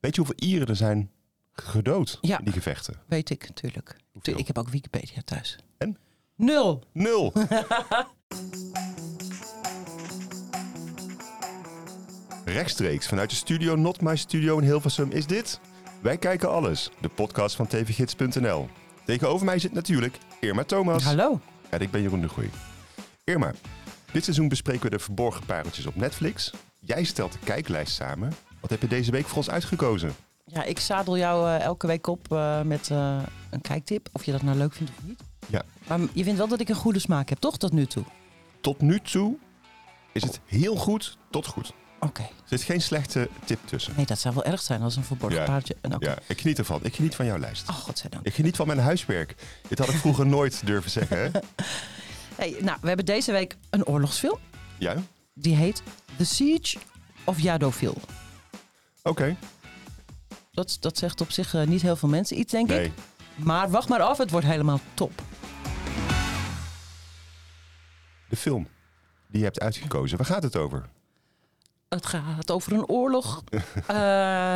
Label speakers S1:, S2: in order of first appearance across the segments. S1: Weet je hoeveel Ieren er zijn gedood
S2: Ja.
S1: in die gevechten?
S2: Weet ik, natuurlijk.
S1: Hoeveel?
S2: Ik heb ook Wikipedia thuis.
S1: En?
S2: Nul.
S1: Nul! Rechtstreeks vanuit de studio Not My Studio in Hilversum is dit... Wij kijken alles, de podcast van tvgids.nl. Tegenover mij zit natuurlijk Irma Thomas.
S2: Hallo.
S1: En ik ben Jeroen de Goeie. Irma, dit seizoen bespreken we de verborgen pareltjes op Netflix. Jij stelt de kijklijst samen. Wat heb je deze week voor ons uitgekozen?
S2: Ja, ik zadel jou eh, elke week op eh, met eh, een kijktip. Of je dat nou leuk vindt of niet.
S1: Ja.
S2: Maar je vindt wel dat ik een goede smaak heb, toch? Tot nu toe.
S1: Tot nu toe is het heel goed tot goed.
S2: Oké.
S1: Er zit geen slechte tip tussen.
S2: Nee, dat zou wel erg zijn als een verborgen
S1: Ja.
S2: paardje. En oké.
S1: Ja, ik geniet ervan. Ik geniet van jouw lijst.
S2: Oh, godzijdank.
S1: Ik geniet van mijn huiswerk. Dit had ik vroeger nooit durven zeggen. Hè?
S2: Hey, nou, we hebben deze week een oorlogsfilm.
S1: Ja? Oké.
S2: Die heet The Siege of Yadoville. Dat, dat zegt op zich eh, niet heel veel mensen iets, denk ik.
S1: Nee.
S2: Maar wacht maar af, het wordt helemaal top.
S1: De film die je hebt uitgekozen. Waar gaat het over?
S2: Het gaat over een oorlog. Eh,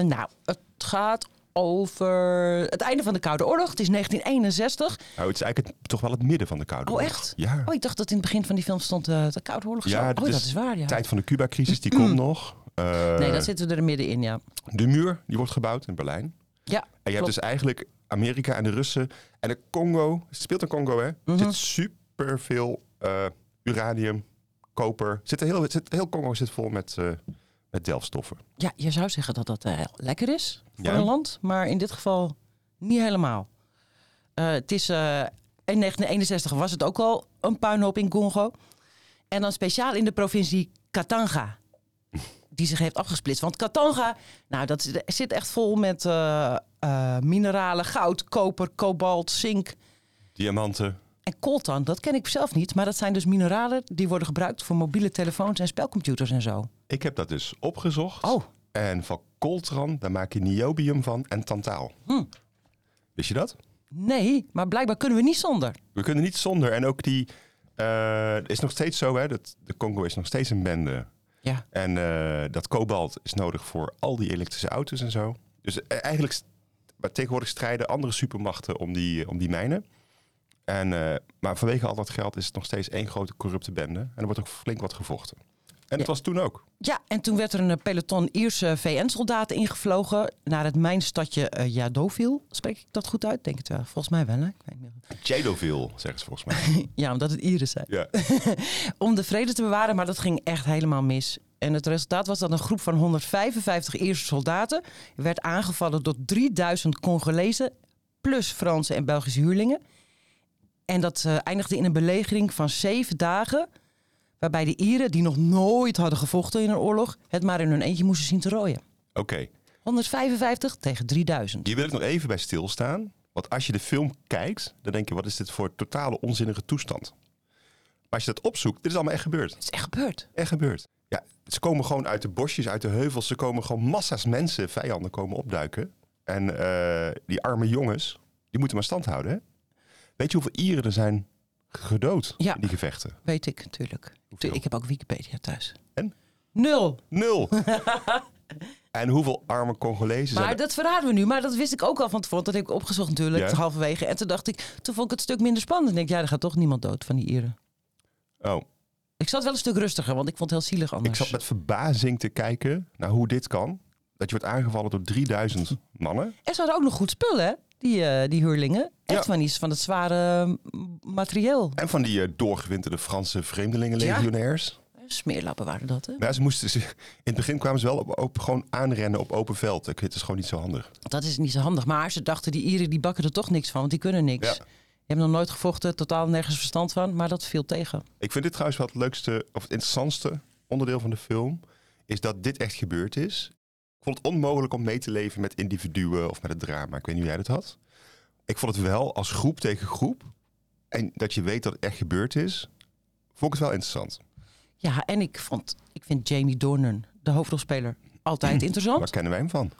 S2: nou, het gaat over het einde van de Koude Oorlog. Het is 1961.
S1: Nou, het is eigenlijk het- toch wel het midden van de Koude
S2: Oh,
S1: Oorlog.
S2: echt?
S1: Ja.
S2: Oh, ik dacht dat in het begin van die film stond eh, de Koude Oorlog.
S1: Ja,
S2: zo.
S1: dat
S2: oh, dat
S1: is
S2: is waar, ja. Mm.
S1: tijd van de Cuba-crisis, die komt nog. Eh,
S2: Nee, daar zitten we er middenin, ja.
S1: De muur, die wordt gebouwd in Berlijn. En
S2: Ja,
S1: je hebt
S2: Klopt.
S1: dus eigenlijk Amerika en de Russen en de Congo. Het speelt in Congo, hè?
S2: Mhm.
S1: Er zit superveel eh, uranium, koper. Zit er heel, het zit, heel Congo zit vol met, eh met delfstoffen.
S2: ja, je zou zeggen dat dat eh, lekker is voor
S1: Ja.
S2: een land. Maar in dit geval niet helemaal. Eh, het is, eh, in 1961 was het ook al een puinhoop in Congo. En dan speciaal in de provincie Katanga. Die zich heeft afgesplitst. Want Katanga, nou, dat is- zit echt vol met eh, eh, mineralen. Goud, koper, kobalt, zink.
S1: Diamanten.
S2: En coltan, dat ken ik zelf niet. Maar dat zijn dus mineralen die worden gebruikt voor mobiele telefoons en spelcomputers en zo.
S1: Ik heb dat dus opgezocht.
S2: Oh.
S1: En van coltran, daar maak je niobium van en tantaal.
S2: Hmm.
S1: Wist je dat?
S2: Nee, maar blijkbaar kunnen we niet zonder.
S1: We kunnen niet zonder. En ook die... eh, is nog steeds zo, hè? Dat de Congo is nog steeds een bende.
S2: Ja.
S1: En eh, dat kobalt is nodig voor al die elektrische auto's en zo. Dus eh, eigenlijk, st- maar tegenwoordig strijden andere supermachten om die, eh, om die mijnen. En, eh, maar vanwege al dat geld is het nog steeds één grote corrupte bende. En er wordt ook flink wat gevochten. En
S2: Ja.
S1: het was toen ook.
S2: Ja, en toen werd er een eh, peloton Ierse VN-soldaten ingevlogen naar het mijnstadje eh Yadoville. Spreek ik dat goed uit? Denk het wel. Volgens mij wel, hè? Ik weet niet meer.
S1: Jadoville, zeggen ze volgens mij.
S2: Ja, omdat het Ieren zijn.
S1: ja.
S2: om de vrede te bewaren, maar dat ging echt helemaal mis. En het resultaat was dat een groep van 155 Ierse soldaten werd aangevallen door 3000 Congolezen, plus Franse en Belgische huurlingen. En dat eh, eindigde in een belegering van zeven dagen, waarbij de Ieren, die nog nooit hadden gevochten in een oorlog, het maar in hun eentje moesten zien te rooien.
S1: Oké,
S2: 155 tegen 3000.
S1: hier wil ik nog even bij stilstaan. Want als je de film kijkt, dan denk je, wat is dit voor totale onzinnige toestand? Maar als je dat opzoekt, dit is allemaal echt gebeurd.
S2: Het is echt gebeurd.
S1: Echt gebeurd. Ja, ze komen gewoon uit de bosjes, uit de heuvels. Ze komen gewoon massa's mensen, vijanden komen opduiken. En eh, die arme jongens, die moeten maar stand houden. Hè? Weet je hoeveel Ieren er zijn gedood
S2: Ja.
S1: in die gevechten?
S2: Weet ik, natuurlijk.
S1: Hoeveel?
S2: Ik heb ook Wikipedia thuis.
S1: En?
S2: Nul.
S1: Nul! en hoeveel arme Congolezen zijn
S2: Maar
S1: er?
S2: dat verraden we nu. Maar dat wist ik ook al van tevoren. Dat heb ik opgezocht natuurlijk,
S1: Ja.
S2: halverwege. En toen dacht ik, toen vond ik het stuk minder spannend. Ik denk, ja, er gaat toch niemand dood van die Ieren.
S1: Oh,
S2: Ik zat wel een stuk rustiger, want ik vond het heel zielig
S1: ik
S2: anders.
S1: zat met verbazing te kijken naar hoe dit kan. Dat je wordt aangevallen door 3000 mannen.
S2: En ze hadden ook nog goed spul, hè? Die, eh, die huurlingen. Echt
S1: Ja.
S2: van iets van het zware eh, m- materieel.
S1: En van die eh, doorgewinterde Franse vreemdelingenlegionairs.
S2: Smeerlappen waren dat, hè?
S1: Ja, Nou, ze moesten ze, in het begin kwamen ze wel op, op- gewoon aanrennen op open veld. Ik- Het is gewoon niet zo handig.
S2: Dat is niet zo handig. Maar ze dachten, die Ieren die bakken er toch niks van, want die kunnen niks.
S1: Ja.
S2: Die hebben nog nooit gevochten, totaal nergens verstand van. Maar dat viel tegen.
S1: Ik vind dit trouwens wel het leukste of het interessantste onderdeel van de film. Is dat dit echt gebeurd is. Ik vond het onmogelijk om mee te leven met individuen of met het drama. Ik weet niet hoe jij dat had. Ik vond het wel als groep tegen groep. En dat je weet dat het echt gebeurd is. Vond ik het wel interessant.
S2: Ja, en ik, vond, ik vind Jamie Dornan, de hoofdrolspeler, altijd interessant.
S1: Waar kennen wij hem van?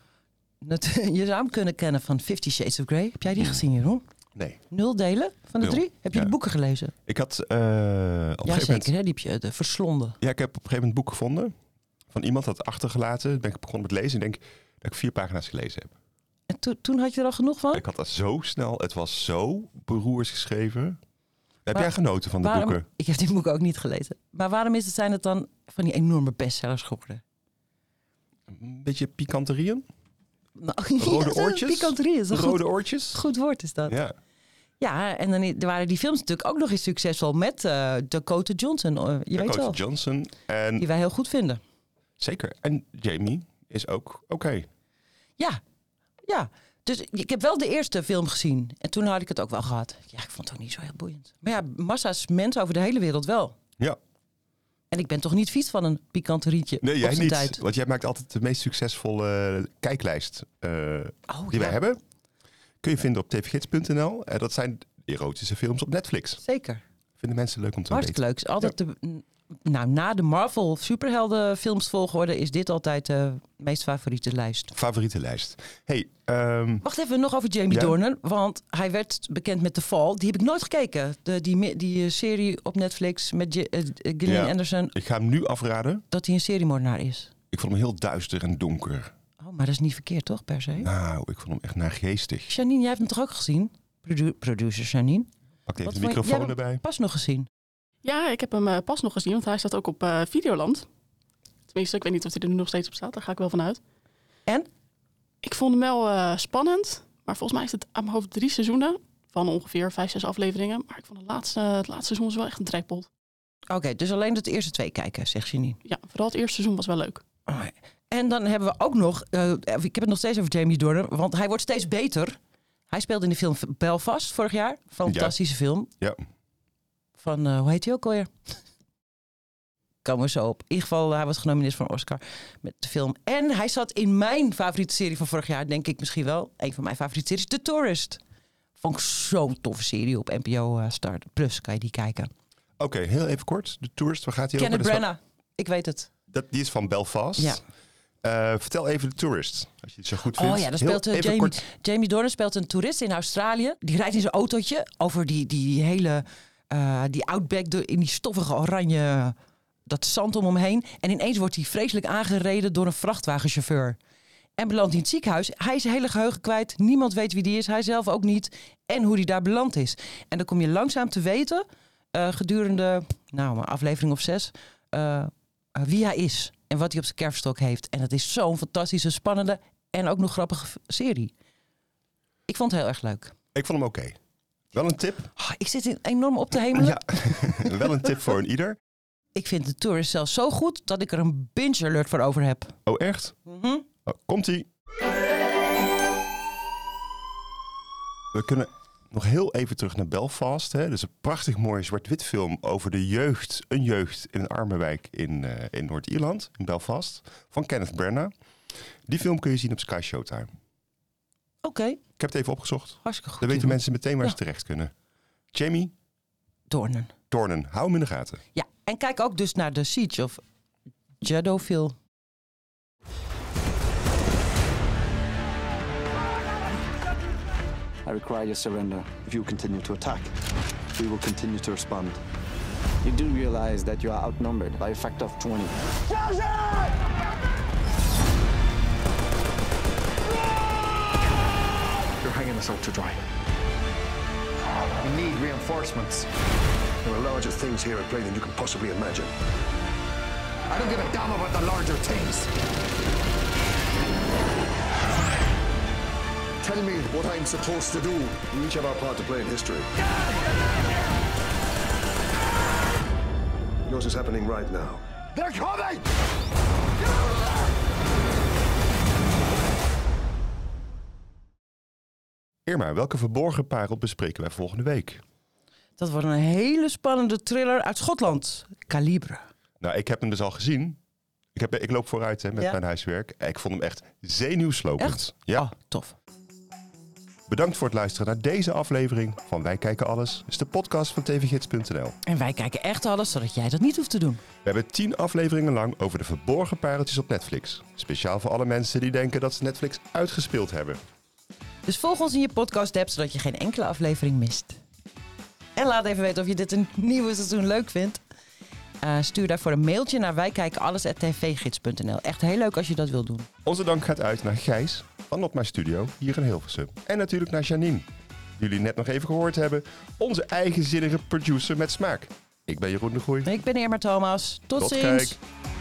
S2: Net- je zou hem kunnen kennen van Fifty Shades of Grey. Heb jij die gezien, Jeroen?
S1: Nee.
S2: Mm. Nul delen van de
S1: Nul,
S2: drie? Heb je
S1: ja.
S2: de boeken gelezen?
S1: Ik had eh, op een gegeven
S2: Ja,
S1: moment-
S2: zeker. Hè? Die heb je eh, de verslonden.
S1: Ja, ik heb op een gegeven moment een boek gevonden. Van iemand dat achtergelaten. Ben ik begonnen met lezen. Ik denk, dat ik vier pagina's gelezen heb.
S2: En toen- toen had je er al genoeg van?
S1: Ik had dat zo snel, het was zo beroers geschreven. Heb
S2: Maar
S1: jij genoten van de
S2: waarom-
S1: boeken?
S2: Ik heb dit boek ook niet gelezen. Maar waarom is het, zijn het dan van die enorme bestsellers geworden?
S1: Een beetje pikanterieën?
S2: Nou,
S1: Rode
S2: ja,
S1: oortjes?
S2: Pikanterie is een goed,
S1: Rode oortjes?
S2: goed woord is dat. Ja,
S1: Ja.
S2: en dan i- er waren die films natuurlijk ook nog eens succesvol met eh, Dakota Johnson. eh, je weet
S1: Dakota
S2: wel,
S1: Johnson. En
S2: die wij heel goed vinden.
S1: zeker. En Jamie is ook oké.
S2: Ja, ja. Dus ik heb wel de eerste film gezien. En toen had ik het ook wel gehad. Ja, ik vond het ook niet zo heel boeiend. Maar ja, massa's mensen over de hele wereld wel.
S1: Ja.
S2: En ik ben toch niet vies van een pikant rietje
S1: Nee,
S2: op
S1: jij
S2: zijn
S1: niet.
S2: tijd.
S1: Want jij maakt altijd de meest succesvolle eh, kijklijst eh,
S2: Oh,
S1: die
S2: ja,
S1: wij hebben. Kun je vinden op tvgids.nl. En dat zijn erotische films op Netflix.
S2: Zeker.
S1: Vinden mensen leuk om te
S2: Hartstikke
S1: weten.
S2: leuk. Is Altijd de, nou, na de Marvel superheldenfilms volgorde is dit altijd de meest favoriete lijst.
S1: Favoriete lijst. Hey, ehm,
S2: Wacht even nog over Jamie
S1: Ja?
S2: Dornan, want hij werd bekend met The Fall. Die heb ik nooit gekeken. De, die, mi- die eh, serie op Netflix met J- eh, eh, Gillian
S1: Ja.
S2: Anderson,
S1: ik ga hem nu afraden.
S2: dat hij een seriemoordenaar is.
S1: Ik vond hem heel duister en donker.
S2: Oh, maar dat is niet verkeerd toch, per se?
S1: Nou, ik vond hem echt naargeestig.
S2: Janine, jij hebt hem toch ook gezien? Produ- producer Janine.
S1: Pak even
S2: Wat
S1: de
S2: vond je-
S1: microfoon
S2: jij-
S1: erbij.
S2: Pas nog gezien.
S3: Ja, ik heb hem eh, pas nog gezien, want hij staat ook op eh, Videoland. Tenminste, ik weet niet of hij er nu nog steeds op staat, daar ga ik wel van uit.
S2: En?
S3: Ik vond hem wel eh, spannend, maar volgens mij is het aan mijn hoofd drie seizoenen van ongeveer vijf, zes afleveringen. Maar ik vond het laatste, het laatste seizoen was wel echt een trekpot.
S2: Oké, dus alleen de eerste twee kijken, zegt Janine.
S3: Ja, vooral het eerste seizoen was wel leuk.
S2: Alright. En dan hebben we ook nog, eh, ik heb het nog steeds over Jamie Dornan, want hij wordt steeds beter. Hij speelde in de film Belfast vorig jaar, fantastische film.
S1: Ja.
S2: Van, eh, hoe heet hij ook alweer? Komen we zo op. In ieder geval, eh, hij was genomineerd voor een Oscar met de film. En hij zat in mijn favoriete serie van vorig jaar, denk ik misschien wel. Een van mijn favoriete series, The Tourist. Vond ik zo'n toffe serie op NPO eh, Start. Plus kan je die kijken.
S1: Oké, heel even kort. De Tourist, waar gaat hij
S2: Kenneth
S1: over? Dat is
S2: Branagh, ik weet het.
S1: van- dat, die is van Belfast.
S2: Ja.
S1: Eh, vertel even de Tourist, als je het zo goed vindt.
S2: Oh ja, dan
S1: Heel
S2: speelt eh,
S1: even
S2: Jamie,
S1: kort.
S2: Jamie Dornan speelt een toerist in Australië. Die rijdt in zijn autootje over die, die hele eh, die outback door- in die stoffige oranje dat zand om hem heen. En ineens wordt hij vreselijk aangereden door een vrachtwagenchauffeur. En belandt in het ziekenhuis. Hij is zijn hele geheugen kwijt. Niemand weet wie die is. Hij zelf ook niet. En hoe die daar beland is. En dan kom je langzaam te weten eh, gedurende nou, een aflevering of zes eh, eh, wie hij is en wat hij op zijn kerfstok heeft. En dat is zo'n fantastische, spannende en ook nog grappige f- serie. Ik vond het heel erg leuk.
S1: Ik vond hem oké. Wel een tip.
S2: Ah, ik zit in- enorm op te hemelen.
S1: Ja, wel een tip voor een ieder.
S2: Ik vind de tour zelfs zo goed dat ik er een binge alert voor over heb.
S1: Oh, echt?
S2: Mhm.
S1: Oh, Komt-ie. We kunnen nog heel even terug naar Belfast. Hè? Dus een prachtig mooie zwart-wit film over de jeugd, een jeugd in een arme wijk in, eh, in Noord-Ierland, in Belfast, van Kenneth Branagh. Die film kun je zien op Sky Showtime.
S2: Oké,
S1: Ik heb het even opgezocht.
S2: hartstikke goed.
S1: Dan weten
S2: jongen.
S1: mensen meteen waar ze
S2: Ja.
S1: terecht kunnen. Jamie
S2: Doornen.
S1: Dornan, hou hem in de gaten.
S2: Ja, en kijk ook dus naar The Siege of Jadoville.
S4: I require your surrender. If you continue to attack, we will continue to respond. You do realize that you are outnumbered by a factor of 20.
S5: You're hanging us out to dry. We need reinforcements. There are larger things here at play than you can possibly imagine. I don't give a damn about the larger things. Tell me what I'm supposed to do. We each have our part to play in history. Yours is happening right now. They're coming!
S1: Irma, welke verborgen parel bespreken wij volgende week?
S2: Dat wordt een hele spannende thriller uit Schotland. Calibre.
S1: Nou, ik heb hem dus al gezien. Ik, heb, ik loop vooruit hè, met
S2: Ja.
S1: mijn huiswerk. Ik vond hem echt zenuwslopend.
S2: Echt?
S1: Ja.
S2: Oh, tof.
S1: Bedankt voor het luisteren naar deze aflevering van Wij Kijken Alles. Dit is de podcast van tvgids.nl.
S2: En wij kijken echt alles zodat jij dat niet hoeft te doen.
S1: We hebben tien afleveringen lang over de verborgen pareltjes op Netflix. Speciaal voor alle mensen die denken dat ze Netflix uitgespeeld hebben.
S2: Dus volg ons in je podcast app zodat je geen enkele aflevering mist. En laat even weten of je dit een nieuwe seizoen leuk vindt. Eh, eh, stuur daarvoor een mailtje naar wijkijkenalles.tvgids.nl. Echt heel leuk als je dat wilt doen.
S1: Onze dank gaat uit naar Gijs van Not My Studio hier in Hilversum. En natuurlijk naar Janine, die jullie net nog even gehoord hebben. Onze eigenzinnige producer met smaak. Ik ben Jeroen de Groei.
S2: Ik ben Irma Thomas. Tot,
S1: Tot
S2: ziens.
S1: kijk.